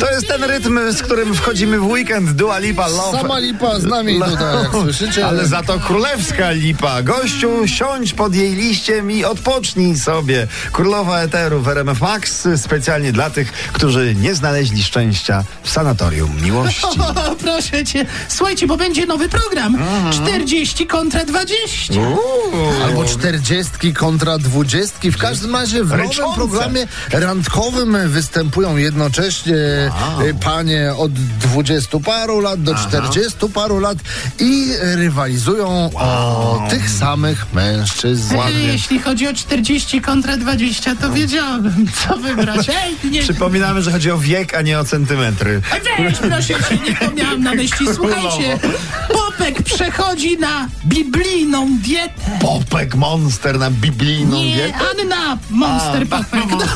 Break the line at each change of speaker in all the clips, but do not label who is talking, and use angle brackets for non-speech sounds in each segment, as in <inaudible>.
To jest ten rytm, z którym wchodzimy w weekend. Dua Lipa, love.
Sama lipa z nami tutaj, jak słyszycie.
no, Ale za to królewska lipa. Gościu, siądź pod jej liściem i odpocznij sobie. Królowa Eteru w RMF Max specjalnie dla tych, którzy nie znaleźli szczęścia w sanatorium miłości.
O, proszę cię. Słuchajcie, bo będzie nowy program.
Mhm.
40 kontra 20.
Albo czterdziestki kontra dwudziestki. W każdym razie w nowym
Ryczące.
programie randkowym występują jednocześnie y, panie od dwudziestu paru lat do czterdziestu paru lat i rywalizują o tych samych mężczyzn.
Ej, E, Jeśli chodzi o 40 kontra 20, to wiedziałbym, co
<laughs>
wybrać. Ej, nie.
Przypominamy, że chodzi o wiek, a nie o centymetry.
Ej, Weź, proszę cię, nie to miałam na myśli. Słuchajcie, Popek przechodzi na biblijną dietę.
Popek monster na biblijną
Nie,
dietę.
Anna Monster Popek. No.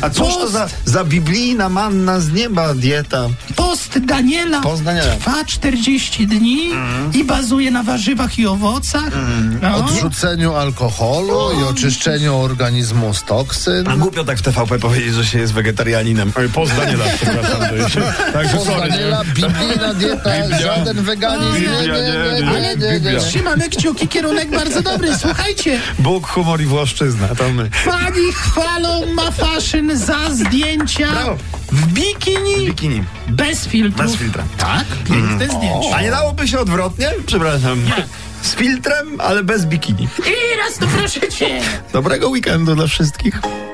A cóż to za, za biblijna manna z nieba dieta?
No, Post Daniela,
Post Daniela. Mhm.
trwa 40 dni i bazuje na warzywach i owocach. No.
Odrzuceniu alkoholu i oczyszczeniu organizmu z toksyn.
A głupio tak w TVP powiedzieć, że się jest wegetarianinem. Oj, poz <laughs> Daniela, przepraszam. to jest- Także
Poza
sorry. nie?
Daniela, biblijna dieta, żaden weganizm. Nie,
Biblia,
nie, nie, nie, nie, nie, nie.
e, Trzymamy kciuki, kierunek bardzo dobry. Słuchajcie,
Bóg, humor i Włoszczyzna, to my.
fani chwalą ma faszyn za zdjęcia
Brawo.
w bikini
Bikini,
bez filtru.
bez filtra. Mm.
Tak, piękne zdjęcie.
A nie dałoby się odwrotnie? Przepraszam. Z filtrem, ale bez bikini.
I raz to proszę cię.
Dobrego weekendu dla wszystkich.